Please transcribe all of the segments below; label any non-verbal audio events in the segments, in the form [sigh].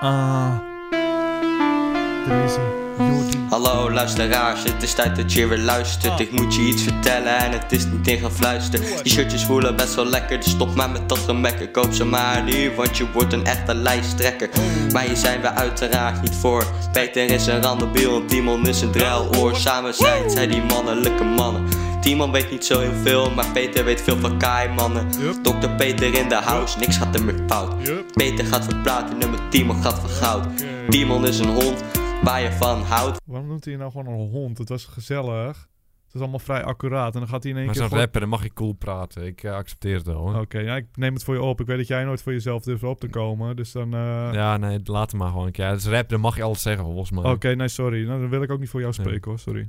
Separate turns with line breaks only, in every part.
Ah. Er is hij. Jordi.
Hallo luisteraars, het is tijd dat je weer luistert Ik moet je iets vertellen en het is niet in gaan fluisteren Die shirtjes voelen best wel lekker, dus stop maar met dat gemekker Koop ze maar nu, want je wordt een echte lijsttrekker Maar hier zijn we uiteraard niet voor Peter is een randebiel en Timon is een druiloor Samen zijn het, zijn die mannelijke mannen Timon weet niet zo heel veel, maar Peter weet veel van kaimannen
Yup.
Dr. Peter in de house, niks gaat er meer fout
Yup.
Peter gaat voor platinum en Timon gaat voor goud
Oké.
Timon is een hond, waar je van houdt
Waarom noemt hij je nou gewoon een hond? Het was gezellig. Het is allemaal vrij accuraat. En dan gaat hij in één
Hij
keer...
is een
gewoon-
rapper, dan mag je cool praten. Ik eh, accepteer het wel. hoor.
Oké, ja, ik neem het voor je op. Ik weet dat jij nooit voor jezelf durft op te komen. Dus dan... eh,
Ja, nee, laat het maar gewoon een keer. Het is rap, dan mag je alles zeggen volgens mij.
Oké,
[laughs]
nee, sorry. Nou, dan wil ik ook niet voor jou
Nee.
spreken hoor, sorry.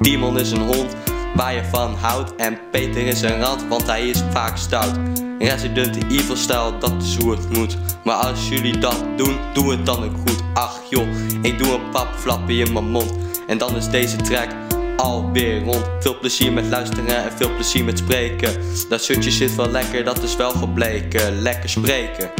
Timon is een hond waar je van houdt En Peter is een rat, want hij is vaak stout Resident Evil stijl, dat is hoe het moet Maar als jullie dat doen, doe het dan ook goed Ach joh, ik doe een papflappie in mijn mond En dan is deze track alweer rond Veel plezier met luisteren en veel plezier met spreken Dat shirtje zit wel lekker, dat is wel gebleken Lekker spreken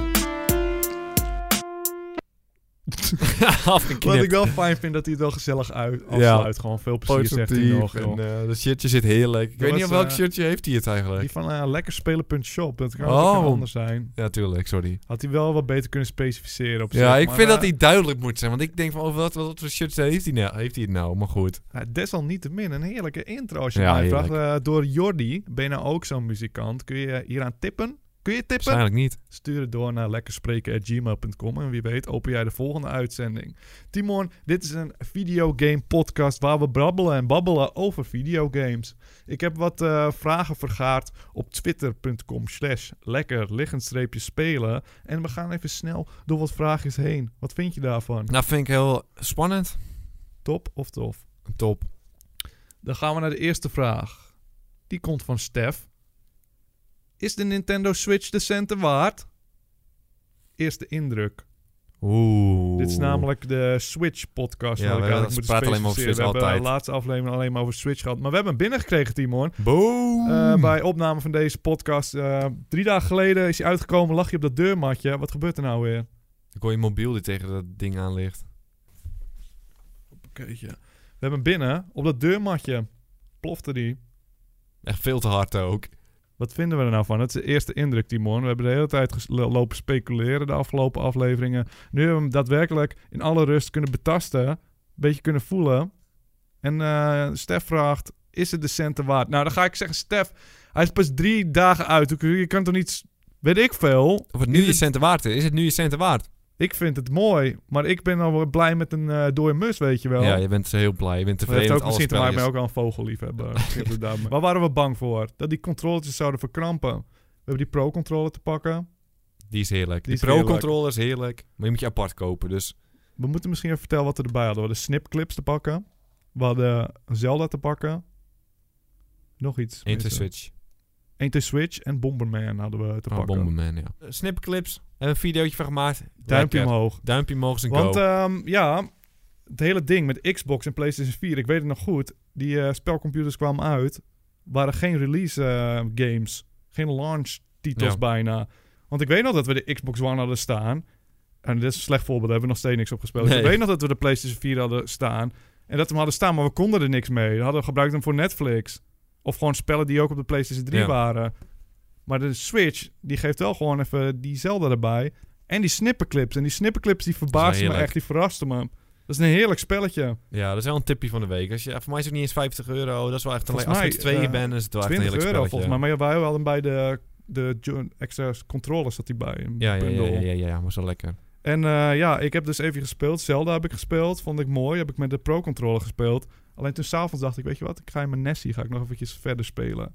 Afgeknipt.
Wat ik wel fijn vind, dat hij het wel gezellig uit, afsluit. Gewoon veel plezier zegt hij nog.
en,
joh.
eh, dat shirtje zit heerlijk. Ik weet
was,
niet op welk
eh,
shirtje heeft hij het
Die
eigenlijk.
van eh, lekkerspelen.shop, dat kan
Oh.
ook een ander zijn.
Ja, tuurlijk, sorry.
Had hij wel wat beter kunnen specificeren op
Ja,
zich,
ik
maar,
vind dat
eh,
hij duidelijk moet zijn. Want ik denk van, over wat, wat voor shirts heeft hij, nou, heeft hij het nou? Maar goed.
Ja, desalniettemin een heerlijke intro als je
Ja,
mij vraagt. Eh, door Jordi, ben je nou ook zo'n muzikant? Kun je hieraan tippen? Kun je tippen?
Waarschijnlijk niet.
Stuur het door naar lekkerspreken.gmail.com en wie weet open jij de volgende uitzending. Timon, dit is een videogame podcast waar we brabbelen en babbelen over videogames. Ik heb wat eh, vragen vergaard op twitter.com slash lekker spelen. En we gaan even snel door wat vraagjes heen. Wat vind je daarvan?
Nou, vind ik heel spannend.
Top of tof?
Top.
Dan gaan we naar de eerste vraag. Die komt van Stef. Is de Nintendo Switch de centen waard? Eerste indruk.
Oeh.
Dit is namelijk de Switch-podcast.
Ja,
waar ik
we
eigenlijk moet
praten alleen maar over
specificeren.
Switch
We hebben de
altijd.
laatste aflevering alleen maar over Switch gehad. Maar we hebben hem binnengekregen, Timon.
Boom.
Eh, bij opname van deze podcast. eh, drie dagen geleden is hij uitgekomen. Lag je op dat deurmatje. Wat gebeurt er nou weer?
Ik hoor je mobiel die tegen dat ding aan ligt.
We hebben hem binnen. Op dat deurmatje plofte die.
Echt veel te hard ook.
Wat vinden we er nou van? Dat is de eerste indruk, Timon. We hebben de hele tijd ges- lo- lopen speculeren de afgelopen afleveringen. Nu hebben we hem daadwerkelijk in alle rust kunnen betasten. Een beetje kunnen voelen. En eh Stef vraagt, is het de centen waard? Nou, dan ga ik zeggen, Stef, hij is pas drie dagen uit. Hoe kun- Je kan toch niet... s- Weet ik veel.
Of het nu je centen waard is. Is het nu je centen waard?
Ik vind het mooi. Maar ik ben al wel blij met een eh dode mus, weet je wel.
Ja, je bent heel blij. Je bent
Dat heeft
tevreden
ook
met alles.
misschien te maken
spelletjes.
met ook al een vogelliefhebber. Misschien is het
[laughs]
daarmee. Waar waren we bang voor? Dat die controletjes zouden verkrampen. We hebben die pro-controller te pakken.
Die is heerlijk.
Die
Die,
is
pro-controller is heerlijk. Maar je moet je apart kopen, dus...
We moeten misschien even vertellen wat we erbij hadden. We hadden snipclips te pakken. We hadden Zelda te pakken. Nog iets.
Interswitch.
Enter Switch en Bomberman hadden we te
Oh,
pakken.
Bomberman, ja. Eh, Snipclips. Hebben een videootje van gemaakt.
Duimpje
Lekker.
omhoog.
Duimpje omhoog zijn
Want
go.
ehm, ja, het hele ding met Xbox en PlayStation 4, ik weet het nog goed. Die eh, spelcomputers kwamen uit. Waren geen release eh, games. Geen launch titels
Ja.
bijna. Want ik weet nog dat we de Xbox One hadden staan. En dit is een slecht voorbeeld, daar hebben we nog steeds niks op gespeeld. Dus
Nee.
ik weet nog dat we de PlayStation 4 hadden staan. En dat we hem hadden staan, maar we konden er niks mee. We hadden gebruikt hem voor Netflix. Of gewoon spellen die ook op de PlayStation 3
Ja.
waren. Maar de Switch, die geeft wel gewoon even die Zelda erbij. En die snipperclips. En die snipperclips die verbaasden me
heerlijk.
echt. Die verrasten me. Dat is een heerlijk spelletje.
ja, dat is wel een tipje van de week. Als je, voor mij is het niet eens 50 euro. Dat is wel echt een...
Volgens
Als
mij,
je met z'n tweeën
eh,
bent, is het wel echt een
20
heerlijk
euro
spelletje.
volgens mij. Maar ja, wij hadden hem bij de, de jo- extra controllers zat hij bij. Een
Ja, ja, ja,
bundel.
ja, ja, ja, ja, maar zo lekker.
En eh, ja, ik heb dus even gespeeld. Zelda heb ik gespeeld. Vond ik mooi. Heb ik met de Pro Controller gespeeld. Alleen toen s'avonds dacht ik, weet je wat? Ik ga in mijn Nessie ga ik nog eventjes verder spelen.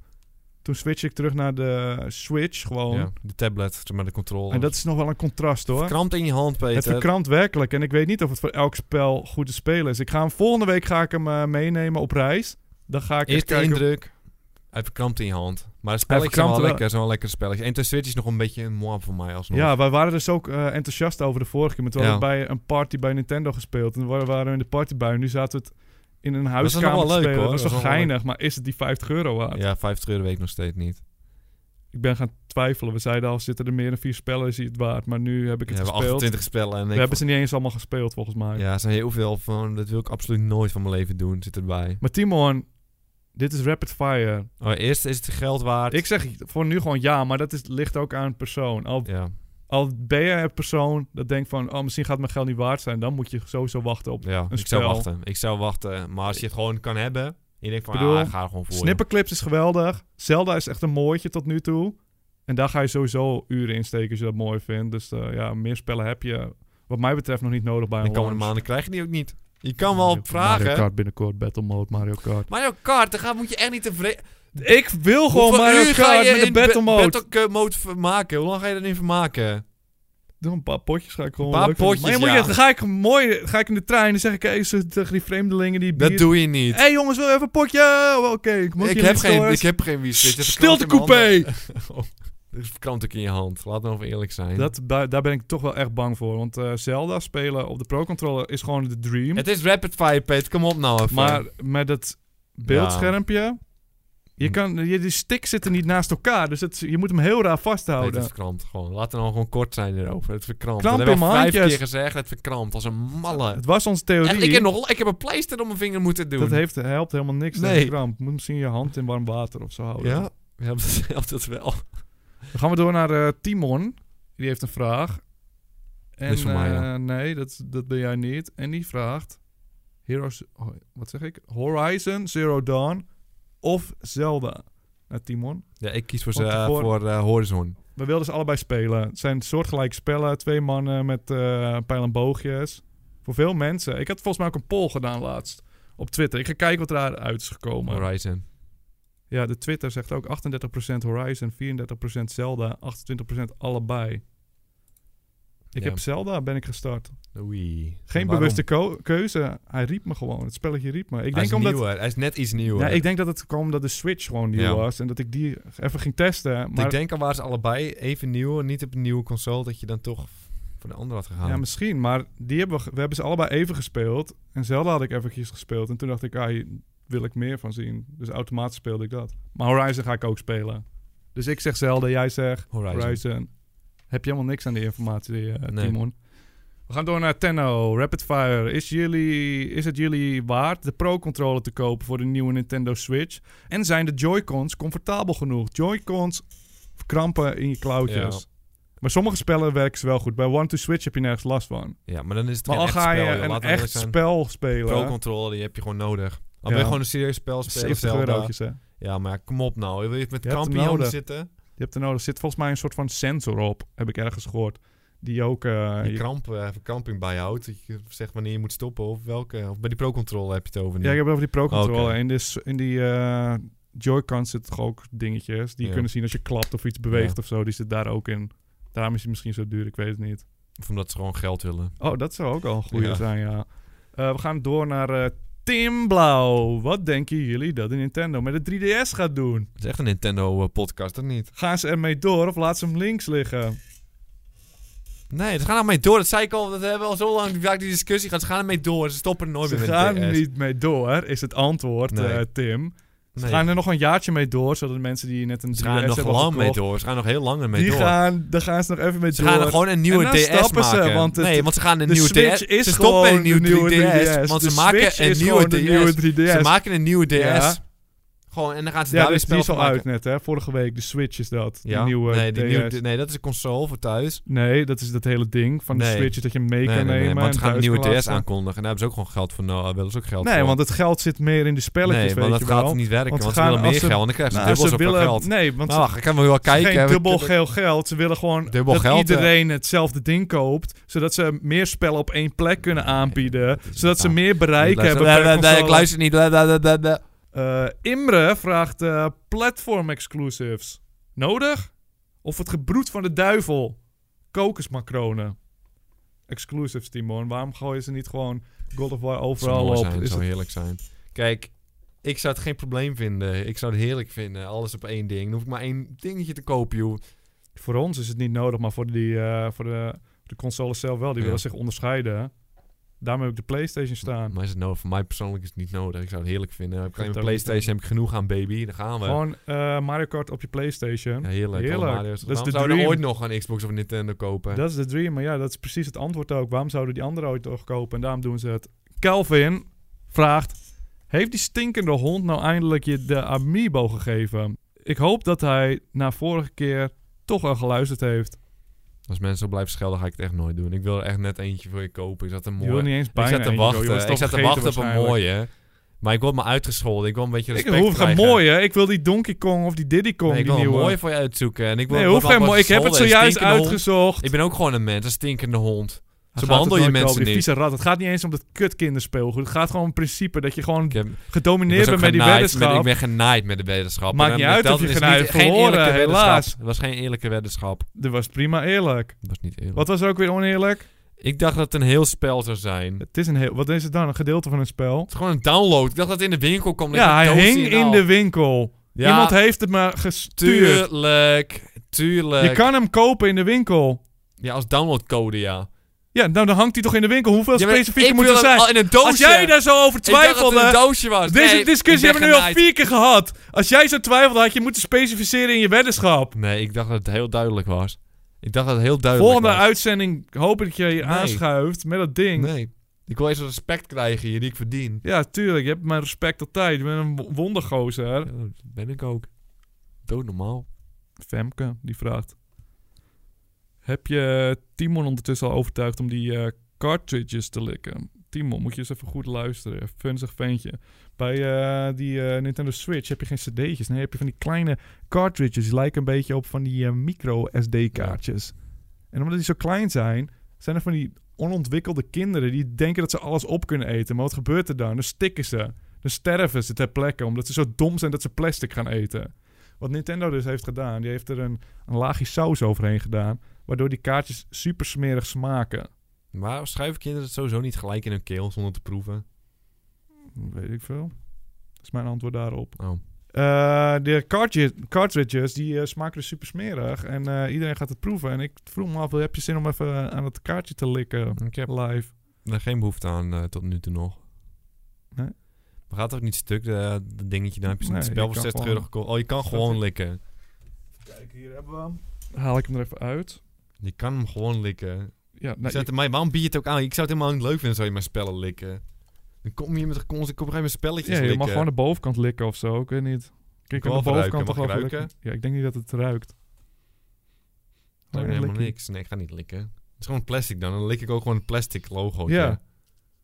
Toen switch ik terug naar de Switch gewoon.
Ja, de tablet, zeg maar de controle.
En dat is nog wel een contrast hoor.
Krampt in je hand, Peter.
Het verkrampt werkelijk. En ik weet niet of het voor elk spel goed te spelen is. Ik ga hem, volgende week ga ik hem eh, meenemen op reis. Dan ga ik eens
Eerste
kijken.
indruk. Hij verkrampt in je hand. Maar het spelletje is wel
verkrampt wel.
lekker. Het is wel een lekker spelletje. En de Switch is nog een beetje een moab voor mij alsnog.
Ja, wij waren dus ook eh, enthousiast over de vorige keer. Maar toen
Ja.
hadden we bij een party bij Nintendo gespeeld. En toen waren- waren we in de partybui. Nu zaten we het in een
is nog
huiskamer
wel
te
leuk,
spelen.
hoor.
Dat is
Dat
wel
is nog wel
geinig. Maar is het die 50 euro waard?
Ja, 50 euro weet ik nog steeds niet.
ik ben gaan twijfelen. We zeiden al, zitten er meer dan vier spellen, is hij het waard. Maar nu heb ik
We
het
hebben
gespeeld.
28 spellen. En
We
ik
hebben ze niet eens allemaal gespeeld, volgens mij.
Ja, er zijn heel veel van. Dat wil ik absoluut nooit van mijn leven doen. Zit erbij.
Maar Timon, dit is rapid fire.
Oh, eerst is het geld waard.
Ik zeg voor nu gewoon ja, maar dat is, ligt ook aan persoon. Al,
Ja.
al ben je een persoon dat denkt van, oh, misschien gaat mijn geld niet waard zijn. Dan moet je sowieso wachten op
Ja, ik
spel.
zou wachten. Ik zou wachten. Maar als je het gewoon kan hebben, en je denkt van,
Ik bedoel,
ah, ik ga er gewoon voor.
Snipperclips is geweldig. Zelda is echt een mooitje tot nu toe. En daar ga je sowieso uren in steken als je dat mooi vindt. Dus eh, ja, meer spellen heb je wat mij betreft nog niet nodig bij
En
een
de komende
launch.
maanden krijg je die ook niet. Je kan wel
Mario- Mario
vragen.
Kart binnenkort, Battle Mode, Mario Kart.
Mario Kart, daar ga- moet je echt niet tevreden...
Ik wil gewoon
Hoeveel
Mario
uur
Kart met de
in
Battle
ba-
Mode.
Battle Mode vermaken. Hoe lang ga je erin vermaken?
Doe een paar potjes, ga ik gewoon
Een paar
leuk vinden.
potjes,
Maar je
ja.
moet je- dan ga ik mooi, ga ik in de trein en dan zeg ik hey, ze- tegen die vreemdelingen die bier...
Dat doe je niet.
Hé hey, jongens, wil je even een potje? Oh, Oké, ik moet
Ik
hier
heb,
niet
geen,
storen.
ik heb geen Wii Switch. Er is een
Stilte
krant in mijn
coupé!
handen. Oh, Er is een krant ook in je hand. Laat nou even eerlijk zijn.
Dat, daar, daar ben ik toch wel echt bang voor. Want eh, Zelda spelen op de Pro Controller is gewoon de dream.
Het is rapid fire, Peter. Kom op nou even.
Maar met het beeldschermpje. Je
Hm.
kan, je, die sticks zitten niet naast elkaar. Dus het, je moet hem heel raar
Nee,
vasthouden.
het verkrampt gewoon. Laten we nou gewoon kort zijn erover. Het verkrampt.
oh, Kramp
dat hebben
in
we al
mijn
vijf keer
handjes.
gezegd. Het verkrampt als een malle.
het was onze theorie.
Echt, ik, heb nog, ik heb een pleister om mijn vinger moeten doen.
Dat heeft, helpt helemaal niks
Nee.
tegen kramp. Moet misschien je hand in warm water of zo houden.
[laughs] Ja, we hebben dat, helpt dat wel.
Dan gaan we door naar eh, Timon. Die heeft een vraag. En,
is van mij,
eh,
ja.
Nee, dat, dat ben jij niet. En die vraagt... Heroes, oh, wat zeg ik? Horizon Zero Dawn of Zelda? Nou, Timon.
Ja, ik kies voor,
Want
eh,
voor-
voor eh, Horizon.
We wilden ze allebei spelen. Het zijn soortgelijke spellen. Twee mannen met eh pijl en boogjes. Voor veel mensen. Ik had volgens mij ook een poll gedaan laatst. Op Twitter. Ik ga kijken wat eruit is gekomen.
Horizon.
Ja, de Twitter zegt ook 38% Horizon, 34% Zelda, 28% allebei. Ik
Ja.
heb Zelda, ben ik gestart.
Oei.
Geen bewuste ko- keuze. Hij riep me gewoon. Het spelletje riep me. Ik
Ik
denk,
denk hij, is
omdat,
nieuw, hè. hij is net iets nieuwer.
ja,
ik,
ik denk dat het kwam omdat de Switch gewoon nieuw
Ja.
was. En dat ik die even ging testen. Maar,
denk al waren ze allebei even nieuw. en Niet op een nieuwe console. Dat je dan toch voor de andere had gegaan.
ja, misschien. Maar die hebben we, ge- we hebben ze allebei even gespeeld. En Zelda had ik eventjes gespeeld. En toen dacht ik, ah, hier wil ik meer van zien. Dus automatisch speelde ik dat. Maar Horizon ga ik ook spelen. Dus ik zeg Zelda, jij zegt...
Horizon.
Horizon. Heb je helemaal niks aan die informatie, eh,
Nee.
Timon. We gaan door naar Tenno. Rapid Fire. Is, jullie, is het jullie waard de Pro-controller te kopen voor de nieuwe Nintendo Switch? En zijn de Joy-Cons comfortabel genoeg? Joy-Cons krampen in je klauwtjes. Maar sommige spellen werken ze wel goed. Bij One-to-Switch heb je nergens last van.
Ja, maar dan is het
Maar
geen
al
echt
ga je
spel, joh.
een
Laten we eerlijk
echt
zijn.
spel spelen...
Pro-controller, die heb je gewoon nodig.
Ja.
Al ben je gewoon een serieus spel spelen,
70
Zelda.
eurotjes, hè.
Ja, maar kom op nou. Wil je het met
Je hebt hem
kampioen
nodig.
zitten?
Je hebt er nodig. Er zit volgens mij een soort van sensor op. Heb ik ergens gehoord. Die ook... eh,
Die
je-
kramp, eh, verkramping bijhoudt. Dat je zegt wanneer je moet stoppen of welke. Of bij die pro-controle heb je het over. nu.
Ja, ik heb het over die Pro Controller.
Oké.
In, dis- in die eh Joy-Con zitten toch ook dingetjes. Die
Ja.
kunnen zien als je klapt of iets beweegt
Ja.
of zo. Die zit daar ook in. Daarom is hij misschien zo duur, ik weet het niet.
Of omdat ze gewoon geld willen.
Oh, dat zou ook al een goede
Ja.
zijn, ja. Eh, we gaan door naar eh, Tim Blauw. Wat denken jullie dat de Nintendo met de 3DS gaat doen?
Het is echt een Nintendo-podcast, dat niet?
Gaan ze ermee door of laten ze hem links liggen?
Nee, ze gaan ermee door. Dat zei ik al. Dat hebben we al zo lang vaak die discussie gehad. Ze gaan ermee door. Ze stoppen er nooit
Ze
meer met de
gaan
DS.
niet mee door, is het antwoord,
Nee.
eh, Tim. Ze
Nee,
gaan er nog een jaartje mee door, zodat mensen die net een 3DS
ze gaan er nog
hebben
lang mee
gekocht,
door. Ze gaan nog heel lang mee
die
door.
gaan, daar gaan ze nog even mee
Ze
door.
gaan er gewoon een nieuwe
En dan
DS
stappen ze,
maken.
want het-
nee, want ze gaan een
de
nieuwe
Switch
DS.
is
ze stoppen met een
gewoon
nieuwe,
de nieuwe
3DS,
3DS.
Want
De
ze maken
Switch
een
is
nieuwe
gewoon
DS.
de nieuwe 3DS.
Ze maken een nieuwe DS.
Ja.
Gewoon, en dan gaan ze
Ja,
daar weer
dus die
spel
is
van
al
maken.
uit net, hè? Vorige week, de Switch is dat.
Ja.
Die nieuwe
nee, die
DS.
nieuwe- nee, dat is een console voor thuis.
Nee, dat is dat hele ding van de
Nee.
Switch, is dat je hem mee
Nee, nee,
kan
nee,
nemen.
want
en
ze gaan een
thuis
nieuwe
kan
DS
laten.
aankondigen. En daar hebben ze ook gewoon geld voor nodig. Daar willen ze ook geld
Nee,
voor.
want het geld zit meer in de spelletjes,
Nee,
weet
want dat
je
gaat
wel.
toch niet werken.
Want
Want,
ze
ze willen
gaan-
meer
als ze-
geld. En dan krijgen ze
Nou,
dubbel
ze
zoveel
willen,
geld.
Nee, want
Nou, wacht, ik kan wel wel
ze
kijken.
geen
We-
dubbel geel geld. Ze willen gewoon
Dubbel
dat
geld, ja.
iedereen hetzelfde ding koopt. Zodat ze meer spellen op één plek kunnen aanbieden. zodat ze
nou,
meer bereik
Luister-
hebben.
Nee,
per
nee, nee, Ik
console.
luister niet. Nee, nee, nee, nee, nee.
Eh, Imre vraagt eh, platform exclusives. Nodig? Of het gebroed van de duivel? Kokosmacronen. Exclusives, Timon. Waarom gooi je ze niet gewoon God of War
Het zou
overal
mooi
op?
zijn, het
Is
zou
het-
heerlijk zijn. Kijk, ik zou het geen probleem vinden. Ik zou het heerlijk vinden. Alles op één ding. Dan hoef ik maar één dingetje te kopen, joh.
voor ons is het niet nodig, maar voor, die, eh, voor de, de console zelf wel. Die
Ja.
willen zich onderscheiden. Daarmee heb ik de PlayStation staan.
Maar is het nodig? Voor mij persoonlijk is het niet nodig. Ik zou het heerlijk vinden. Heb ik
vind
alleen mijn
het ook niet
PlayStation, heb ik genoeg aan, baby. Dan gaan we.
Gewoon eh, Mario Kart op je PlayStation.
ja, heerlijk.
Heerlijk.
Allemaal Mario's.
Dat is
Waarom
de
zouden we
dream.
ooit nog een Xbox of Nintendo kopen?
Dat is de dream, maar ja, dat is precies het antwoord ook. Waarom zouden die anderen ooit toch kopen? En daarom doen ze het. Calvin vraagt: Heeft die stinkende hond nou eindelijk je de Amiibo gegeven? Ik hoop dat hij na vorige keer toch wel geluisterd heeft.
Als mensen zo blijven schelden, ga ik het echt nooit doen. Ik wil er echt net eentje voor je kopen. Ik zat een
Je wil
mooie.
niet eens
Ik
bijna.
zat te
eentje, joh. Je was
wachten. Ik
toch
zat te
vergeten
wachten op een
waarschijnlijk.
mooie. Maar ik word me uitgescholden. Ik wil een beetje
Ik
respect
hoef geen
krijgen.
mooie. hè. Ik wil die Donkey Kong of die Diddy Kong.
Nee, ik
die
wil een
nieuwe.
mooie voor je uitzoeken. En ik wil
nee,
word
hoef geen
wel
mooie. Ik heb het
gescholden. Een
zojuist
stinkende hond.
uitgezocht.
Ik ben ook gewoon een mens, een stinkende hond.
Hij
Zo
gaat het
behandel je
nooit
mensen
kopen, die
niet.
vieze rat. Het gaat niet eens om dat kut kinderspeelgoed. Het gaat gewoon om het principe dat je gewoon
Ik, heb, ik,
gedomineerd
was ook
bent met die
genaaid met- ik
weddenschap.
ben genaaid met de weddenschap.
Maakt
En,
niet
eh,
uit
dat
of je
is niet-
genaaid
geen
verloren,
eerlijke weddenschap.
helaas.
Het was geen eerlijke weddenschap.
Dat was prima eerlijk.
Dat was niet eerlijk.
Wat was er ook weer oneerlijk?
Ik dacht dat het een heel spel zou zijn. Het
Het is een heel, wat is het dan? Een gedeelte van een spel?
is gewoon een download. Ik dacht dat het in de winkel kwam.
Ja, hij hing in de winkel.
nou. Ja,
Iemand heeft het maar gestuurd.
tuurlijk.
Je
Tuurlijk.
kan hem kopen in de winkel.
Ja, als downloadcode, ja.
Ja, nou dan hangt hij toch in de winkel. Hoeveel
ja maar
specifieker
ik
moet
wil
er
hem
zijn?
al in een doosje.
Als jij daar zo over
Ik dacht dat het
twijfelde...
een doosje was.
Deze
Nee, ik
discussie
ben
hebben we nu al
genaaid.
vier keer gehad. Als jij zo twijfelde, had je moeten specificeren in je weddenschap.
Nee, ik dacht dat het heel duidelijk was. Ik dacht dat het heel duidelijk
Volgende
was.
uitzending hoop ik dat je je aanschuift met dat ding.
Nee. Ik wil eens wat respect krijgen hier die ik verdien.
Ja, tuurlijk. Je hebt mijn respect altijd. Je bent een wo- wondergozer.
Ja, dat ben ik ook. Doodnormaal.
Femke, die vraagt... Heb je Timon ondertussen al overtuigd om die eh, cartridges te likken? Timon, moet je eens even goed luisteren. Funzig ventje. Bij eh, die eh, Nintendo Switch heb je geen cd'tjes. Nee, heb je van die kleine cartridges. Die lijken een beetje op van die eh, micro SD-kaartjes. En omdat die zo klein zijn, zijn er van die onontwikkelde kinderen... die denken dat ze alles op kunnen eten. Maar wat gebeurt er dan? Dan stikken ze. Dan sterven ze ter plekke, omdat ze zo dom zijn dat ze plastic gaan eten. Wat Nintendo dus heeft gedaan, die heeft er een, een laagje saus overheen gedaan... waardoor die kaartjes super smerig smaken.
Maar schuiven kinderen het sowieso niet gelijk in hun keel zonder te proeven?
Weet ik veel. Dat is mijn antwoord daarop.
Oh.
Eh, de cartridge- cartridges, die eh, smaken dus super smerig. En eh, iedereen gaat het proeven. En ik vroeg me af, heb je zin om even aan dat kaartje te likken?
Ik heb
Live.
er geen behoefte aan eh, tot nu toe nog.
Nee?
Maar gaat ook niet stuk, de- dat dingetje. Dan heb je zo'n
Nee, je
spel voor
kan
60
gewoon-
euro gekocht. Oh, je kan gewoon likken.
Kijk, hier hebben we hem. Haal ik hem er even uit.
Je kan hem gewoon likken.
Ja,
Ik
nou,
zou het- maar waarom bied je het ook aan? Ik zou het helemaal niet leuk vinden, zou je mijn spellen likken. Dan kom je hier met een kom, ik kom mijn spelletjes
Ja, je
likken.
mag gewoon de bovenkant likken of zo. Ik weet niet. Kijk,
Mag
aan de
wel
bovenkant
ruiken,
toch
mag
wel
ruiken?
likken. Ja, ik denk niet dat het ruikt. Oh, Nee,
Dat is helemaal
likkie.
niks. Nee, ik ga niet likken. Het is gewoon plastic dan. Dan lik ik ook gewoon een plastic logo.
Ja.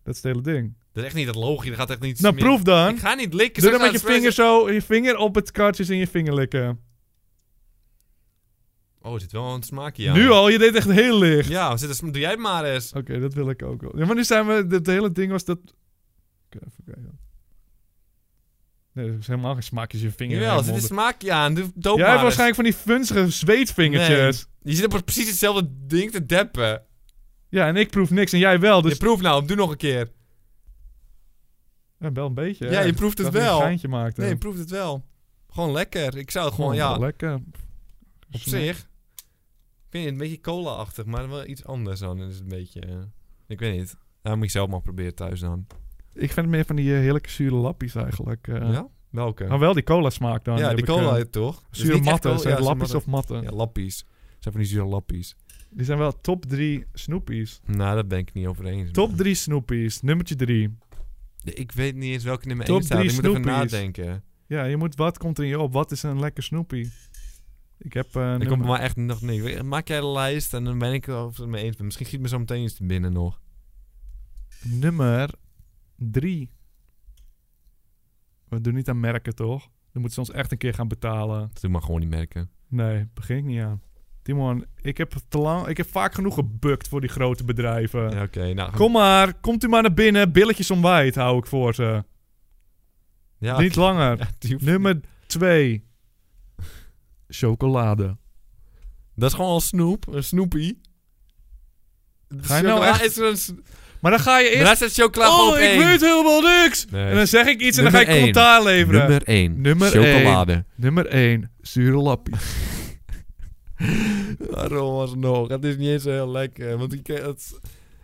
Dat is het hele ding.
Dat is echt niet dat logo. Dat gaat echt niet...
Nou,
meer-
proef dan.
Ik ga niet likken.
Doe
zo
dan met
gaat
je
het
vinger
spelen.
zo, je vinger op het kaartjes en je vinger likken.
Oh, er zit wel een smaakje aan.
Nu al, Oh, je deed echt heel licht.
Ja, zit een sma- doe jij het maar eens.
Oké, dat wil ik ook wel. Ja, maar nu zijn we, het hele ding was dat... Oké, even kijken. Nee, dat is helemaal geen smaakjes je vinger.
Jawel,
in
er
je
zit een
mond.
smaakje aan. Doe doop
Jij
maar
hebt
eens.
waarschijnlijk van die vunzige zweetvingertjes.
Je zit op precies hetzelfde ding te deppen.
Ja, en ik proef niks en jij wel, dus...
Je proeft nou, doe nog een keer.
Ja, wel een beetje.
Ja, je proeft het
Ik dacht dat je
wel.
een geintje maakte.
Nee, je proeft het wel. Gewoon lekker. Ik zou het gewoon,
Oh,
ja,
wel Lekker.
op zich. Ik weet niet, een beetje cola-achtig, maar wel iets anders dan. Het is een beetje, eh, ik weet niet. Nou, moet je zelf maar proberen thuis dan.
Ik vind het meer van die eh, heerlijke zure lappies eigenlijk. eh.
Ja? Welke?
Maar wel die cola smaak dan.
ja,
heb
die
ik,
cola
eh,
heeft toch? Dus
zure
niet echt
matten.
cola-
zijn
ja,
het
zure
lappies of matten?
Ja, lappies. Het zijn van die zure lappies.
Die zijn wel top 3 snoepies.
Nou, daar ben ik niet over eens.
Top
man.
3 snoepies. Nummertje 3.
Ik weet niet eens welke nummer
Top
1 staat.
drie
Ik moet even
snoepies.
nadenken.
Ja, je moet, wat komt er in je op? Wat is een lekker snoepie? Ik heb eh,
Ik
nummer-
kom maar echt nog niks. Maak jij de lijst en dan ben ik er over mee eens. ben. Misschien giet me zo meteen iets te binnen nog.
nummer 3. We doen niet aan merken, toch? Dan moeten ze ons echt een keer gaan betalen.
Dat doe ik maar gewoon niet merken.
Nee, begin ik niet aan. Timon, ik heb, te lang, ik heb vaak genoeg gebukt voor die grote bedrijven.
Ja, Oké, nou.
Kom maar, komt u maar naar binnen. Billetjes omwijd hou ik voor ze.
ja,
Niet langer.
[laughs] ja, die hoeft-
Nummer 2. Chocolade.
Dat is gewoon al snoep. Een snoepie.
Ga je nou echt-
Is er een... s-
Maar dan ga je
Daarna
eerst...
staat chocola gewoon op
oh, ik
één.
weet helemaal niks.
Nee.
En dan zeg ik iets en dan
Nummer
ga ik
één.
commentaar leveren.
Nummer 1.
Nummer
Chocolade.
Nummer 1. Zure lappie.
Waarom was het nog? Het is niet eens heel lekker. Want ik, het,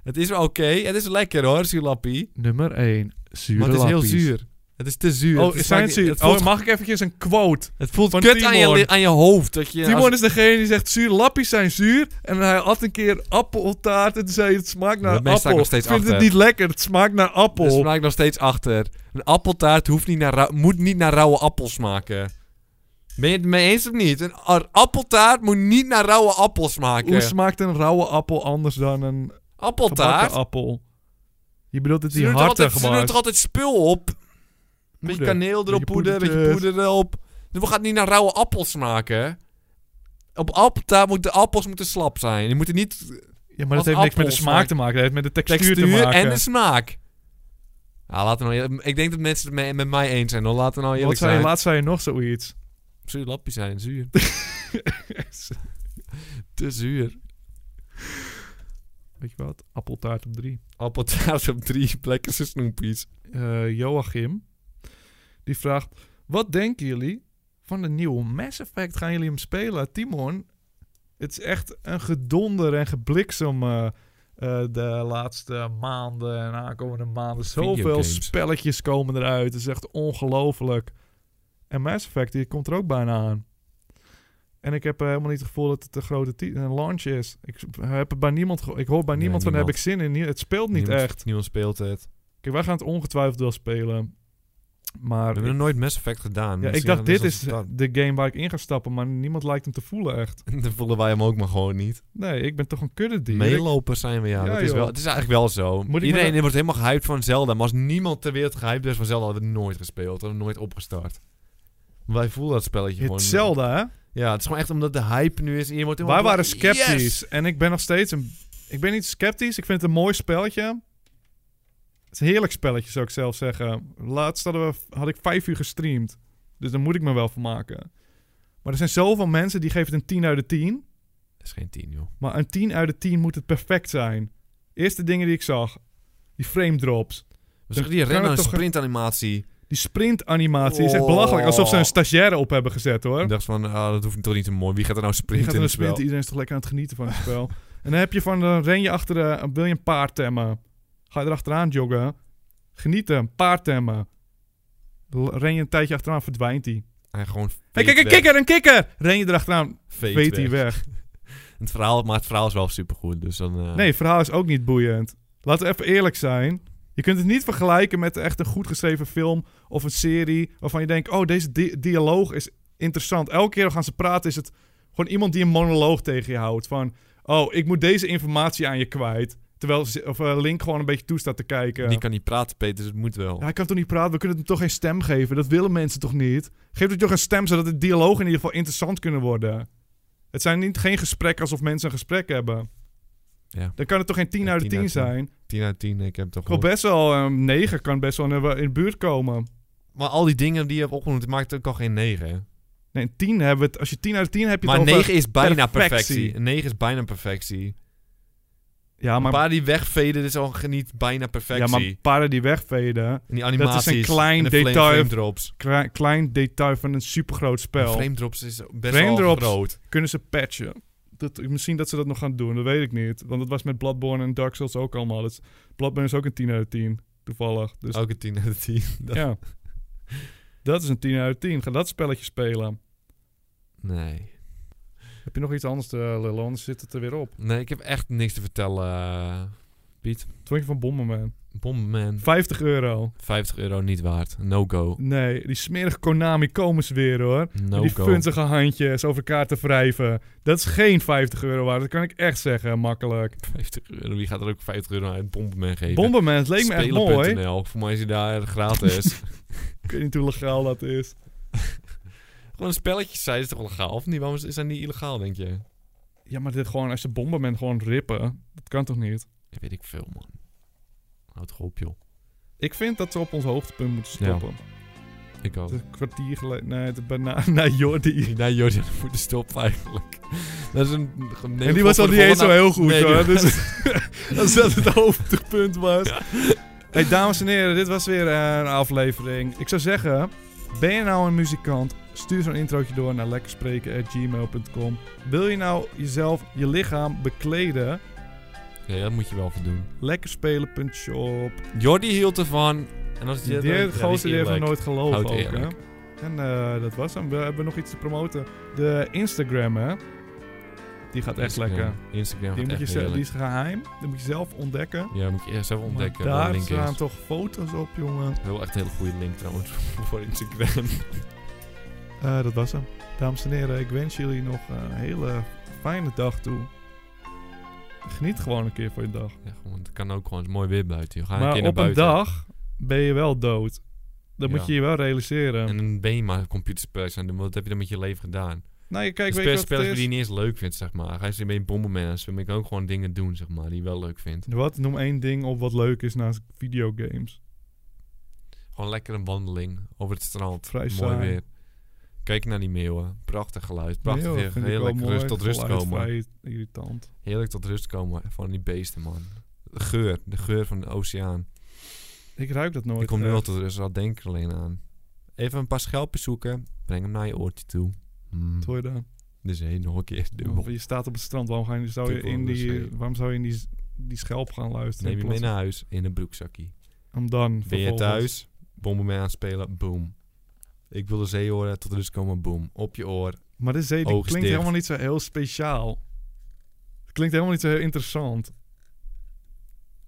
Het is wel oké. Het is lekker hoor, zuurlappie.
Nummer 1. Zure
Maar het is heel
lappies.
zuur. Het is te zuur.
Oh,
het is
zijn
vaak-
het zuur?
Het voelt,
Oh, mag ik eventjes een quote?
het voelt
van
kut aan je,
Timon.
li- aan je hoofd. Dat je,
Timon
als-
is degene die zegt, zure lappies zijn zuur. En hij had een keer appeltaart en toen zei hij, het smaakt naar
Daarmee sta ik
appel.
nog steeds
ik vind het
achter.
niet lekker, het smaakt naar
Daar
appel.
sta ik nog steeds achter. Een appeltaart hoeft niet naar rauw- moet niet naar rauwe appels smaken. Ben je het mee eens of niet? Een a- appeltaart moet niet naar rauwe appels
Hoe
smaken.
smaakt een rauwe appel anders dan een gebakken
appeltaart?
appel? Je bedoelt dat
Ze
die
doen, er
hartig
altijd, ze doen
gemaakt.
er altijd spul op. Een beetje
Poeder.
kaneel erop,
Beetje
poeder, een beetje
poedertjes.
poeder erop. Dus we gaan niet naar rauwe appels smaken. Op appeltaart moeten de appels moeten slap zijn. Die moeten niet
Ja, maar dat
als
heeft niks met de
appel
smaak
smaakt.
te maken. Dat heeft met de textuur,
textuur,
te maken.
en de smaak. Ja, laten we nou, ik denk dat mensen het mee- met mij eens zijn. Hoor. Laten we nou
Wat
eerlijk
zei je,
zijn.
laatst zei je nog zoiets.
Zuur lappie
[laughs]
zijn, zuur. Te zuur.
Weet je wat? Appeltaart op drie.
Appeltaart op drie plekken zijn snoepies.
Eh, Joachim, die vraagt... Wat denken jullie van de nieuwe Mass Effect? Gaan jullie hem spelen? Timon, het is echt een gedonder en gebliksem... eh, eh, de laatste maanden en aankomende maanden. Zoveel
Videogames.
spelletjes komen eruit. Het is echt ongelooflijk. En Mass Effect die komt er ook bijna aan. En ik heb eh, helemaal niet het gevoel dat het een grote ti- een launch is. Ik s- heb het bij niemand geho- ik hoor bij
Nee,
niemand van heb ik
niemand.
zin in. Nie- Het speelt niet
niemand,
echt.
Niemand speelt het.
Kijk, wij gaan het ongetwijfeld wel spelen. Maar
We hebben nog
ik,
nooit Mass Effect gedaan.
ja, ik
Misschien
dacht,
gaan we
dit
eens
is
als het
de game waar ik in ga stappen. Maar niemand lijkt hem te voelen echt.
kan. [laughs] Dan voelen wij hem ook maar gewoon niet.
Nee, ik ben toch een kuddedier.
Meelopers zijn we, ja.
Ja,
dat is
joh.
wel, het is eigenlijk wel zo.
Moet ik
Iedereen
maar-
wordt helemaal gehyped van Zelda. Maar als niemand ter wereld gehyped is van Zelda, hadden we het nooit gespeeld. Hadden we nooit opgestart. Wij voelen dat spelletje gewoon.
Het Zelda, hè?
Ja, het is gewoon echt omdat de hype nu is. en je wordt helemaal
Wij
blij-
waren sceptisch.
Yes!
En ik ben nog steeds een... Ik ben niet sceptisch. Ik vind het een mooi spelletje. Het is een heerlijk spelletje, zou ik zelf zeggen. Laatst hadden we, had ik vijf uur gestreamd. Dus daar moet ik me wel van maken. Maar er zijn zoveel mensen die geven het een 10 uit de 10.
Dat is geen tien, joh.
Maar een 10 uit de 10 moet het perfect zijn. Eerste dingen die ik zag. Die frame drops.
We zeggen
kan
die
het
rennen en
toch-
sprintanimatie.
Die sprintanimatie is echt belachelijk. Alsof ze een stagiaire op hebben gezet hoor.
Ik dacht van, ah, Oh. dat hoeft toch niet zo mooi. Wie gaat er nou
Die
sprinten
gaat
in
aan de
het spel?
sprint. Iedereen is toch lekker aan het genieten van het spel. [laughs] En dan heb je van, dan ren je achter, eh, wil je een paard temmen. Ga je erachteraan joggen. Genieten, paard temmen. L- Ren je een tijdje achteraan, verdwijnt hij.
Hij gewoon
Hé,
veet
kijk, een
weg.
kikker, een kikker! Ren je erachteraan,
Veet
weet hij
weg.
weg.
Het verhaal, maar het verhaal is wel supergoed, dus dan... eh,
Nee, het verhaal is ook niet boeiend. Laten we even eerlijk zijn. Je kunt het niet vergelijken met echt een goed geschreven film of een serie waarvan je denkt: oh, deze di- dialoog is interessant. Elke keer gaan ze praten, is het gewoon iemand die een monoloog tegen je houdt. Van: oh, ik moet deze informatie aan je kwijt. Terwijl ze- of, eh, Link gewoon een beetje toe staat te kijken.
Die kan niet praten, Peter, dus het moet wel.
Ja, hij kan toch niet praten? We kunnen hem toch geen stem geven? Dat willen mensen toch niet? Geef het toch een stem zodat de dialoog in ieder geval interessant kunnen worden. Het zijn niet, geen gesprekken alsof mensen een gesprek hebben.
Ja.
Dan kan het toch geen 10
Ja,
uit de 10
10 uit 10.
zijn?
10 uit 10, ik heb toch
Kan best wel, ehm 9 kan best wel in de, in de buurt komen.
Maar al die dingen die je hebt opgenoemd, het maakt ook al geen 9. hè?
Nee, een 10 hebben we het. Als je 10 uit de 10 hebt, heb je
Maar
het over-
9 is bijna
perfectie.
perfectie. Een 9 is bijna perfectie.
Ja,
Een
maar,
paar die wegveden is al ge- niet bijna
ja,
perfectie.
maar paarden die wegveden.
en die
een
animaties.
klein
en de flame-
detail.
Frame drops.
Kle- klein detail van een supergroot spel.
Frame drops is best
Frame
wel
drops.
groot.
Kunnen ze patchen? Dat, misschien dat ze dat nog gaan doen, dat weet ik niet. Want dat was met Bloodborne en Dark Souls ook allemaal. Dat is- Bloodborne is ook een 10 uit de 10, toevallig. Dus
Ook een 10 uit 10. [laughs] Dat-
[laughs] ja. Dat is een 10 uit de 10. Ga dat spelletje spelen.
Nee.
Heb je nog iets anders, te eh, Lillo? Anders zit het er weer op.
Nee, ik heb echt niks te vertellen. eh,
Wat vond je van Bomberman?
Bomberman.
50 euro.
50 euro niet waard. No go.
Nee, die smerige Konami komen ze weer hoor.
No
die
go.
funzige handjes over elkaar te wrijven. Dat is geen 50 euro waard, dat kan ik echt zeggen, makkelijk.
50 euro. Wie gaat er ook 50 euro uit Bomberman geven?
Bomberman, het leek me echt
Spelen.nl.
mooi.
Voor mij is hij daar
[laughs]
gratis.
Ik weet niet hoe legaal dat is.
Gewoon spelletjes zijn is toch legaal of niet? Waarom is- zijn die illegaal, denk je?
Ja, maar dit gewoon, als ze Bomberman gewoon rippen, dat kan toch niet?
Ja, weet ik veel, man. Houd toch op, joh.
Ik vind dat ze op ons hoogtepunt moeten
Ja.
stoppen.
Ik ook.
Het is een kwartier geleden, nee, het is bijna [laughs] naar Jordi.
Nee, [laughs] Jordi had moeten stoppen eigenlijk. Dat is een...
en die was al niet eens zo heel goed hoor.
[laughs]
Dus [laughs] als dat het hoogtepunt was. Hey, dames en heren, dit was weer eh, een aflevering. Ik zou zeggen, ben je nou een muzikant? Stuur zo'n introotje door naar lekkerspreken.gmail.com. Wil je nou jezelf, je lichaam bekleden?
Ja, dat moet je wel voor doen.
Lekkerspelen.shop.
Jordi hield ervan. En als je
Die ja, gozer die heeft nog nooit geloofd
Houdt
ook, hè?
eerlijk.
En eh, dat was hem. We hebben nog iets te promoten. De Instagram, hè? Die gaat echt lekker.
Instagram
Die,
gaat
moet je
echt
zelf, die
heerlijk.
is geheim. Die moet je zelf ontdekken.
Ja, moet je eerst even ontdekken.
Maar
wat de
daar
link
staan
is.
toch foto's op, jongen.
Wel echt een hele goede link trouwens [laughs] voor Instagram.
Eh, dat was hem. Dames en heren, ik wens jullie nog een hele fijne dag toe. Geniet gewoon een keer van je dag.
Ja, gewoon, het kan ook gewoon het is mooi weer buiten. Je gaat een
maar
keer
op
naar
een
buiten.
dag ben je wel dood. Dat
Ja.
moet je je wel realiseren.
En dan ben je maar computerspels aan doen. Wat heb je dan met je leven gedaan?
nou, je
Ik
kijkt, weet je wat
spel,
het
spellen Dus
is?
die je niet eens leuk vindt, zeg maar. Ga je een beetje bommen aan Dan ik ook gewoon dingen doen, zeg maar, die je wel leuk vindt.
Wat? Noem één ding op wat leuk is naast videogames.
Gewoon lekker een wandeling over het strand.
Vrij
mooi
saai.
weer. Kijk naar die meeuwen. Prachtig geluid. Prachtig
Nee, joh,
weer.
vind ik wel
Heerlijk
mooi.
rust tot rust
Geluid
komen.
vrij irritant.
Heerlijk tot rust komen van die beesten, man. De geur. De geur van de oceaan.
Ik ruik dat nooit. eh,
Ik kom nu al
echt.
tot rust. Al denk ik alleen aan. Even een paar schelpen zoeken. Breng hem naar je oortje toe. Hmm.
Wat hoor je dan?
Dus heen nog een keer dubbel.
Want Je staat op het strand. Waarom, ga je, zou, je
Dubbel
in die,
wc.
waarom zou je in die, die schelp gaan luisteren?
dus, eh, Neem je
in
mee
plaats-
naar huis in een broekzakje.
Om dan
Ben je
vervolgens-
thuis? Bomberman aan het spelen. Boom. Ik wil de zee horen. Tot rust komen. Boom. Op je oor.
Maar de zee die
Ogen
klinkt
dicht.
helemaal niet zo heel speciaal. Het klinkt helemaal niet zo heel interessant.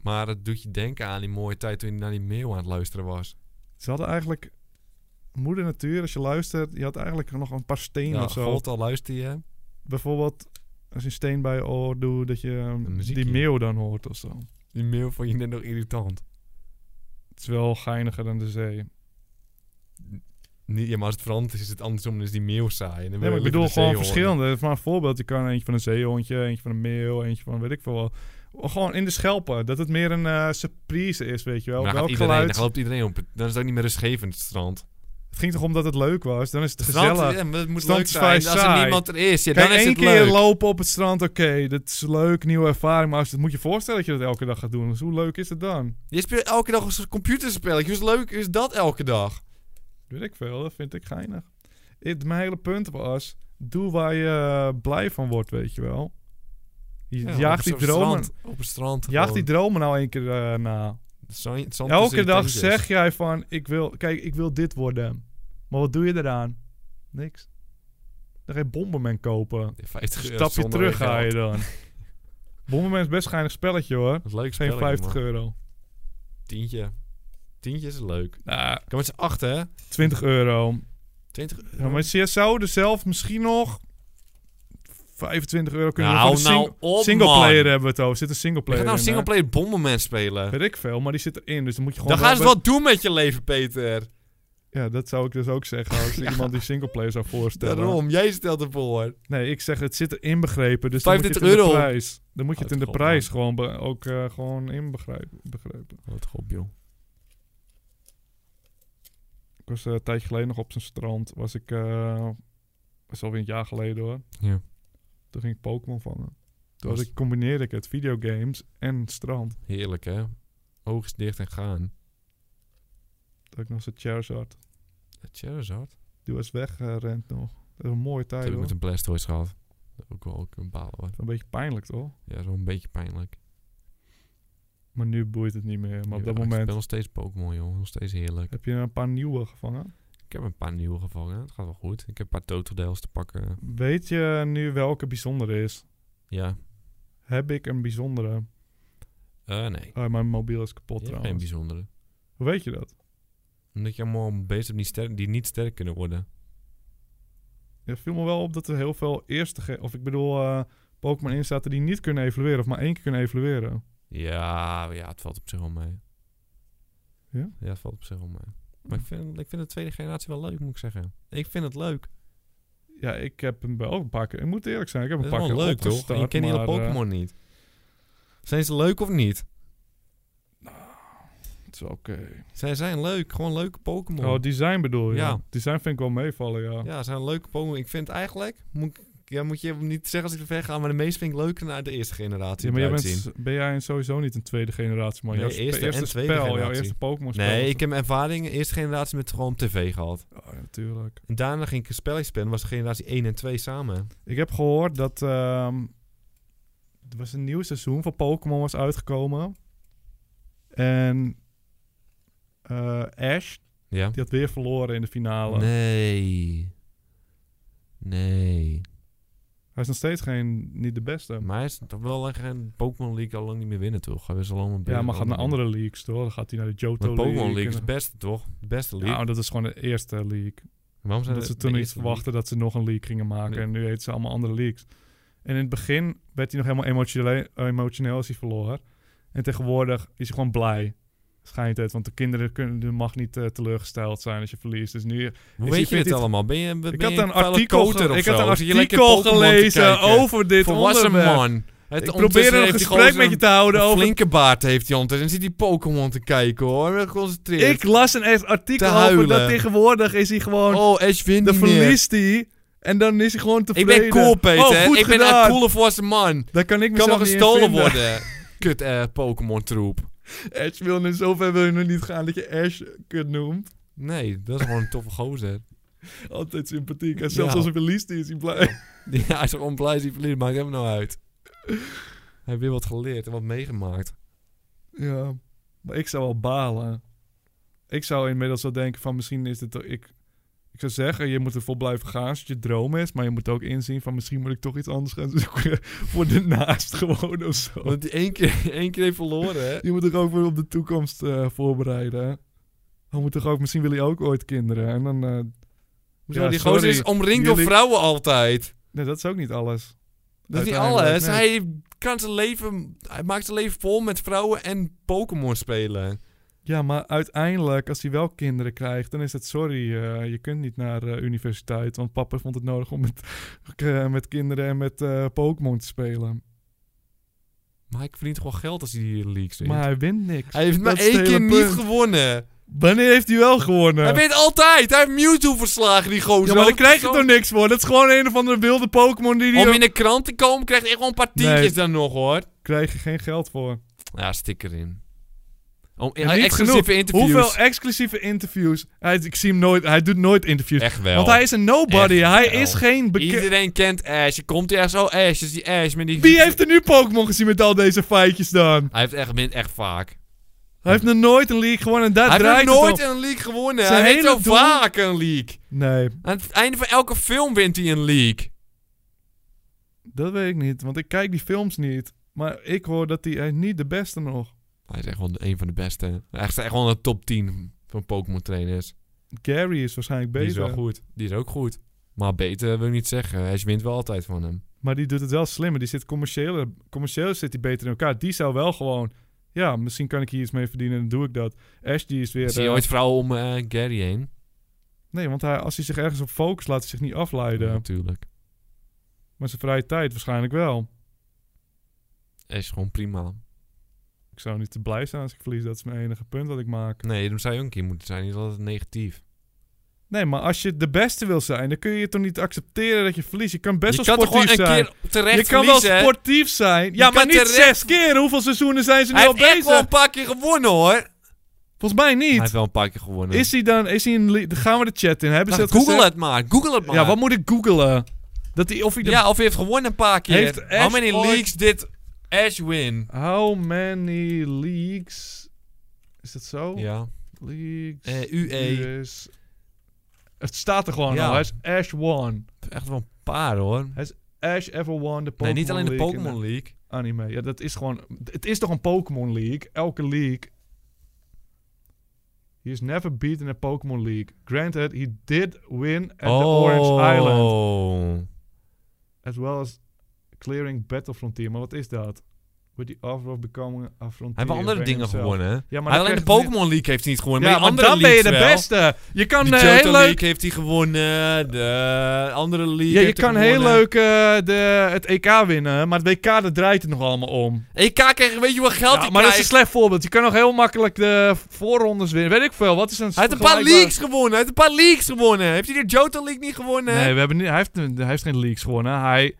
Maar het doet je denken aan die mooie tijd toen je naar die mail aan het luisteren was.
Ze hadden eigenlijk... Moeder Natuur, als je luistert, je had eigenlijk nog een paar stenen
Ja,
of zo.
God, al luister je.
Bijvoorbeeld, als je een steen bij je oor doet, dat je um,
Een muziekje.
die meeuw dan hoort of zo.
Die mail vond je net nog irritant.
Het is wel geiniger dan de zee.
Nee, ja, maar als het veranderd is, is het andersom. Dan is die mail saai. En dan wil
Nee, maar
je
ik
liever
bedoel
de zee
gewoon
horen.
verschillende. Maar een voorbeeld, je kan eentje van een zeehondje, eentje van een meeuw, eentje van weet ik veel wel. Gewoon in de schelpen. Dat het meer een eh, surprise is, weet je wel.
Maar dan gaat
Welk
iedereen,
geluid.
dan loopt iedereen op. het- Dan is het ook niet meer rustgevend, het strand.
Het ging toch om dat het leuk was? Dan is het
Het
gezellig.
strand, ja, maar het moet
Strand
leuk
is vrij
zijn. Als er
saai.
niemand er is, ja,
Kijk,
dan is
één
het
keer
leuk.
lopen op het strand, oké, dat is leuk, nieuwe ervaring. Maar als, dat moet je voorstellen dat je dat elke dag gaat doen. Dus hoe leuk is het dan?
Je speelt elke dag een soort computerspelletje. Hoe leuk is dat elke dag?
Weet ik veel, dat vind ik geinig. Het, mijn hele punt was, doe waar je eh, blij van wordt, weet je wel. Je
Ja,
jaagt,
op
die
zo'n
dromen,
strand, op een strand.
jaagt die
gewoon.
dromen nou één keer eh, na.
Zand- zand
Elke
tussen je
dag
tandjes.
zeg jij van, ik wil, kijk, ik wil dit worden. Maar wat doe je eraan? Niks. Dan ga je Bomberman kopen.
50 euro
Stap je
zonder
terug ga je
geld. [laughs]
dan. Bomberman is best geinig spelletje hoor.
Dat is leuk
Geen
spelletje,
50
man.
euro.
Tientje. Tientje is leuk.
Nou,
Kan met z'n achten, hè?
20 euro.
20 euro.
Ja, maar ze zouden zelf misschien nog 25 euro kunnen
Nou,
doen. Voor de
nou op,
singleplayer
man.
hebben we het over. Zit een
Je gaat
singleplayer
nou
in, hè?
singleplayer Bomberman spelen.
Weet ik veel, maar die zit erin. Dus dan moet je gewoon...
Dan gaan ze
wel
wat doen met je leven, Peter.
bij- Ja, dat zou ik dus ook zeggen
[laughs]
als
Ja.
iemand die singleplayer zou voorstellen.
Daarom, jij stelt ervoor.
Nee, ik zeg het zit er inbegrepen. Dus dan moet je het
35
in de
euro.
prijs. Dan moet je het in de
Houd
prijs gewoon be- ook eh, gewoon inbegrijpen. Begrepen.
Wat god, joh.
Ik was eh, een tijdje geleden nog op zijn strand. Was ik... eh, dat is alweer een jaar geleden hoor.
Ja.
Toen ging ik Pokémon vangen. Toen
Was-
had ik, combineerde ik het videogames en strand.
Heerlijk, hè? Oogjes dicht en gaan.
Dat ik nog zo'n Charizard.
Ja, Charizard.
Die was weggerend nog. Dat is een mooie
Dat
tijd
heb ik
hoor.
met een Blastoise gehad. Ook wel ook een balen, hoor.
Een beetje pijnlijk toch?
Ja, zo'n beetje pijnlijk.
Maar nu boeit het niet meer. Maar op
Ja,
dat
Ik
moment
speel nog steeds Pokémon, joh. Nog steeds heerlijk.
heb je een paar nieuwe gevangen.
Ik heb een paar nieuwe gevangen. Het gaat wel goed. Ik heb een paar totodels te pakken.
Weet je nu welke bijzondere is?
Ja.
Heb ik een bijzondere?
Eh, nee.
Ah, mijn mobiel is kapot
Je hebt geen
trouwens.
bijzondere.
Hoe weet je dat?
Omdat je allemaal beesten hebt die, sterk, die niet sterk kunnen worden.
Het viel me wel op dat er heel veel eerste... ge- Of ik bedoel, eh, Pokémon in zaten die niet kunnen evolueren. Of maar één keer kunnen evolueren.
Ja, ja, het valt op zich wel mee.
Ja?
Ja, het valt op zich wel mee. Maar ik vind, ik vind de tweede generatie wel leuk, moet ik zeggen. Ik vind het leuk.
Ja, ik heb hem wel een paar keer... Ik moet eerlijk zijn, ik heb
Het
een
is
paar
wel
keer
leuk, toch? En
opgestart,
je kent die hele
maar, eh,
Pokémon niet. Zijn ze leuk of niet?
het is wel oké.
Zij zijn leuk. Gewoon leuke Pokémon.
Oh, design bedoel je?
Ja.
Design vind ik wel meevallen, ja.
Ja, ze zijn leuke Pokémon. Ik vind eigenlijk... Moet, ik- ja, moet je niet zeggen als ik er ver ga, maar de meeste vind ik leuker naar de eerste generatie.
Ja, maar jij
eruit zien.
bent, ben jij sowieso niet een tweede generatie man?
Nee,
jouw spe-
eerste en tweede
spel, jouw
generatie.
eerste Pokémon spel.
Nee,
was-
ik heb ervaring eerste generatie met gewoon op tv gehad.
Oh, ja, natuurlijk.
En daarna ging ik een spelletje spelen, was generatie 1 en 2 samen.
Ik heb gehoord dat ehm, er was een nieuw seizoen van Pokémon was uitgekomen. En eh, Ash,
Ja?
die had weer verloren in de finale.
Nee. Nee.
Hij is nog steeds geen, niet de beste.
Maar hij is toch wel lang geen Pokémon League al lang niet meer winnen, toch? Hij is al lang een
Ja, maar gaat naar
andere-
andere leagues, toch? Dan gaat hij naar de
Maar
Johto League.
Pokémon League
en-
is het beste, toch? De beste
Ja,
league.
maar dat is gewoon de eerste league.
Waarom zijn
Dat ze
de
toen niet
eerste
verwachten dat ze nog een league gingen maken.
Nee.
En nu heet ze allemaal andere leagues. En in het begin werd hij nog helemaal emotionele- emotioneel als hij verloor. En tegenwoordig is hij gewoon blij. Schijnt het, want de kinderen kunnen, er mag niet eh, teleurgesteld zijn als je verliest. Dus nu...
league? Hoe
Ik
weet
zit
je
met
dit
dit-
allemaal? Ben je, ben
ik
je
had een
vuile
artikel,
koter
ge-
of
ik had
zo?
een
Zit je lekker
artikel
Pokémon te
gelezen
kijken?
over dit
Volwassen
onderwerp.
man. Het
Ik
ondertussen
probeer een
heeft die
gesprek
gozer
met je te houden
Een
over...
flinke baard heeft hij ondertussen. En zit die Pokémon te kijken hoor. Geconcentreerd.
Ik las een echt artikel
Te
over dat
huilen.
tegenwoordig is hij gewoon...
Oh, Ash wint
dan
niet meer.
verliest hij en dan is hij gewoon
Ik
tevreden.
ben cool, Peter.
Oh, goed
ik ben
gedaan.
een coole volwassen man.
Daar kan ik
Kan
mezelf
maar
niet in
gestolen
vinden.
worden. [laughs] Kut eh, Pokémon troep.
Ash wil in zover wil je nog niet gaan dat je Ash kut noemt.
Nee, dat is gewoon een toffe gozer. [laughs]
Altijd sympathiek. En zelfs
Ja.
als hij verliest is hij blij.
Ja, hij is gewoon blij dat hij verliest. Maakt hem nou uit. Hij heeft weer wat geleerd en wat meegemaakt.
Ja. Maar ik zou wel balen. Ik zou inmiddels wel denken van misschien is dit... toch- Ik, ik zou zeggen, je moet ervoor blijven gaan als het je droom is. Maar je moet ook inzien van misschien moet ik toch iets anders gaan zoeken. [laughs] voor de naast gewoon of zo.
Want hij één keer, [laughs] één keer heeft verloren, hè?
Je moet toch ook weer op de toekomst eh, voorbereiden. Dan moet toch ook, misschien wil je ook ooit kinderen. En dan... eh,
Hoezo,
Ja,
die gozer
sorry.
is omringd door
Jullie-
vrouwen altijd.
nee, dat is ook niet alles.
Dat is niet
Uiteindelijk,
alles.
nee.
Hij kan zijn leven... Hij maakt zijn leven vol met vrouwen en Pokémon spelen.
Ja, maar uiteindelijk, als hij wel kinderen krijgt, dan is het sorry. eh, je kunt niet naar eh, universiteit, want papa vond het nodig om met, [laughs] eh, met kinderen en met eh, Pokémon te spelen.
Maar hij verdient gewoon geld als hij die leaks wint.
Maar hij wint niks.
hij
dat
heeft
is
maar
het
één keer
hele
niet
punt.
gewonnen.
Wanneer heeft hij wel gewonnen?
Hij wint altijd. Hij heeft Mewtwo verslagen, die gozer.
ja, maar daar krijg je
Zo-
toch niks voor? Dat is gewoon een of andere wilde Pokémon die
Om
die...
in de krant te komen krijgt hij gewoon een paar tientjes
Nee.
dan nog, hoor.
Krijg je geen geld voor.
Ja, stik erin. Om e-
En niet
exclusieve
genoeg.
interviews.
Hoeveel exclusieve interviews? Hij, ik zie hem nooit, hij doet nooit interviews.
Echt wel.
Want hij is een nobody.
Echt
hij
wel.
is geen bekend...
Iedereen kent Ash. Je komt hier echt zo, Ash is die Ash. Met die...
Wie heeft er nu Pokémon gezien met al deze feitjes dan?
Hij heeft echt, wint echt vaak.
Hij heeft nog nooit een league gewonnen en daar
Hij
draait
heeft
het
nog nooit
om.
een league gewonnen.
Zijn
hij heeft
hele
zo
doel-
vaak een league.
Nee,
Aan het einde van elke film wint hij een league.
dat weet ik niet, want ik kijk die films niet. Maar ik hoor dat hij, hij is niet de beste nog.
Hij is echt gewoon een van de beste. Hij is echt gewoon een top 10 van Pokémon trainers.
Gary is waarschijnlijk
Die is
beter,
wel goed. Die is ook goed. Maar beter wil ik niet zeggen. Hij wint wel altijd van hem.
maar die doet het wel slimmer. Die zit commercieel, commercieel zit hij beter in elkaar. Die zou wel gewoon, ja, misschien kan ik hier iets mee verdienen en doe ik dat. Ash die is weer...
Zie je
eh,
ooit vrouwen om eh, Gary heen?
Nee, want hij, als hij zich ergens op focust, laat hij zich niet afleiden.
Ja, natuurlijk.
Maar zijn vrije tijd waarschijnlijk wel.
Hij is gewoon prima.
Ik zou niet te blij zijn als ik verlies. Dat is mijn enige punt dat ik maak.
Nee, dan zou je ook een keer moeten zijn. Niet altijd negatief.
Nee, maar als je de beste wil zijn, dan kun je toch niet accepteren dat je verliest. Je kan best
je
wel
kan toch
sportief
gewoon een
zijn.
keer terecht
Je kan
verliezen,
wel
hè?
sportief zijn.
Je
Ja, maar
kan
niet
terecht-
zes keer. Hoeveel seizoenen zijn ze nu
Hij
al
heeft echt
bezig?
wel een paar keer gewonnen, hoor.
Volgens mij
Hij
niet.
heeft wel een paar keer gewonnen.
Is hij dan... Is hij een li- Gaan we de chat in? Hebben ze
Nou,
dat
Google
gezegd?
het maar. Google het maar.
Ja, wat moet ik googelen? Dat hij... Of hij de...
Ja, of hij heeft gewonnen een paar keer.
Heeft Ash
How many
ooit-
leagues did Ash win?
How many leagues... Is dat zo?
Ja.
Leagues...
Eh, UE.
is- Het staat er gewoon
Ja.
al. Hij is Ash won.
Echt wel een paar hoor.
Ash ever won de Pokémon
nee, niet alleen de
League en
Pokémon League.
Anime. Ja, dat is gewoon... Het is toch een Pokémon League? Elke league. He is never beaten in a Pokémon League. Granted, he did win at the
Oh.
Orange Island. As well as clearing Battle Frontier. Maar wat is dat? With the offer of becoming a frontier.
Hij heeft wel andere
by
dingen
himself.
gewonnen. hè?
Ja, maar
Hij
dan
alleen de
krijgt hij-
Pokémon League heeft hij niet gewonnen.
Ja,
maar
maar
die andere
dan ben je de
leagues wel.
beste. Je kan
De
eh,
Johto
heel leuk...
League heeft hij gewonnen. De andere league
Ja, je
heeft hij
kan heel
gewonnen.
leuk eh, de, het EK winnen, maar het WK dat draait het nog allemaal om.
EK krijgen, E weet je wat geld
Ja,
hij
maar dat is een
krijgt?
slecht voorbeeld. Je kan nog heel makkelijk de voorrondes winnen. Weet ik veel. Wat is een
Hij heeft een paar
vergelijkbare-
leagues gewonnen. Hij heeft een paar leagues gewonnen. Heeft hij de Johto League niet gewonnen?
Nee, we hebben niet, hij, heeft, hij heeft geen leaks gewonnen. Hij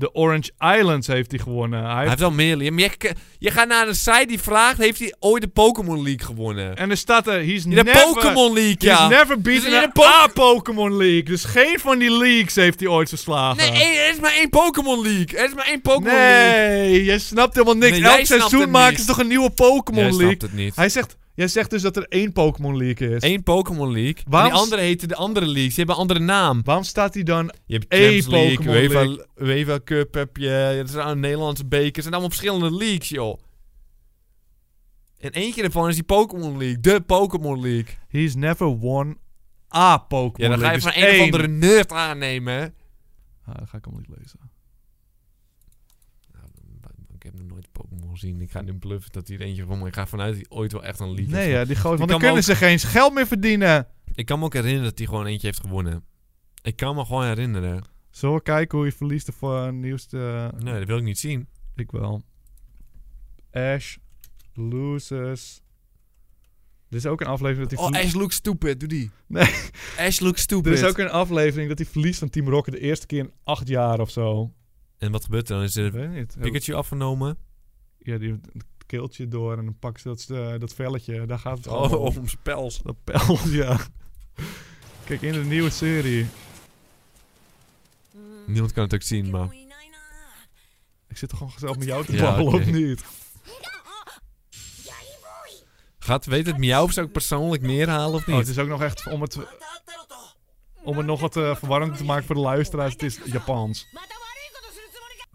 De Orange Islands heeft hij gewonnen. Hij
Hij
heeft-
heeft wel meer... Je, maar je, je gaat naar een site die vraagt... Heeft hij ooit de Pokémon League gewonnen?
En er staat er, he's
In de
never...
Pokémon League,
He's
ja.
never beaten
Dus in
een
de Pok-
A-Pokémon League. Dus geen van die leagues heeft hij ooit verslagen.
Nee, één- er is maar één Pokémon League. Er is maar één Pokémon League.
Nee, jij snapt helemaal niks.
Nee, jij
Elk
snapt
seizoen
het
maken
niet.
ze toch een nieuwe Pokémon
Jij
League?
snapt het niet.
Hij zegt, jij zegt dus dat er één Pokémon League is.
Eén Pokémon League. En
Waarom
die
s-
andere heten de andere leagues. Die hebben een andere naam.
Waarom staat hij dan...
Je hebt
Eén
Champions League,
Pokémon
UEFA, UEFA Cup heb je. ja, Er zijn allemaal Nederlandse bekers. Het zijn allemaal verschillende leagues, joh. En eentje daarvan is die Pokémon League. De Pokémon League.
He's never won a Pokémon
Ja, dan ga je
League.
van
Dus
een of
één.
andere nerd aannemen. hè.
Ah, dat ga ik allemaal niet lezen.
Nou, Ik heb nog nooit Pokémon gezien. Ik ga nu bluffen dat hier eentje van. Ik ga vanuit dat hij ooit wel echt een league
Nee,
heeft.
ja, die gozer, want
kan
dan
me
kunnen
ook-
ze geen geld meer verdienen.
Ik kan me ook herinneren dat hij gewoon eentje heeft gewonnen. Ik kan me gewoon herinneren.
Zullen we kijken hoe je verliest de voor- nieuwste...
Nee, dat wil ik niet zien.
Ik wel. Ash loses. Dit is ook een aflevering dat hij
Oh,
verlie-
Ash looks stupid. Doe die.
Nee.
[laughs] Ash looks stupid.
Er is ook een aflevering dat hij verliest van Team Rocket de eerste keer in acht jaar of zo.
En wat gebeurt er dan? Is
Ik
er een
weet niet.
Pikachu afgenomen?
Ja, die heeft een keeltje door en dan pakken ze dat, eh, dat velletje. Daar gaat het
Oh,
allemaal om.
om spels.
Dat pels, ja. Kijk, in de nieuwe serie.
Niemand kan het ook zien, maar...
Ik zit toch gewoon gezellig met jou te
Ja,
babbelen,
oké. [laughs]
of niet?
Gaat, weet het Miauw of zou ik persoonlijk neerhalen of
Oh, het
niet?
is ook nog echt om het, om het nog wat eh, verwarrender te maken voor de luisteraars. Het is Japans.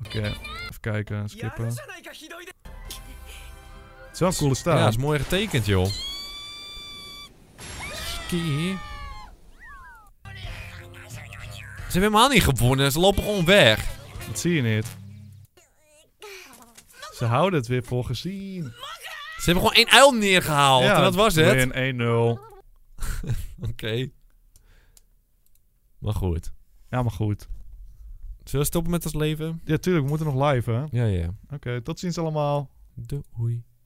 Oké, even kijken, skippen. Het is wel een coole
Ja,
staart.
is mooi getekend, joh. Ski. Ze hebben helemaal niet gewonnen. Ze lopen gewoon weg.
dat zie je niet. Ze houden het weer voor gezien.
Ze hebben gewoon één uil neergehaald. en dat was het. Oké.
Win 1-0.
Maar goed.
Ja, maar goed.
Zullen we stoppen met ons leven?
Ja, tuurlijk, we moeten nog live, hè? Oké,
Ja, ja.
tot ziens allemaal.
Doei.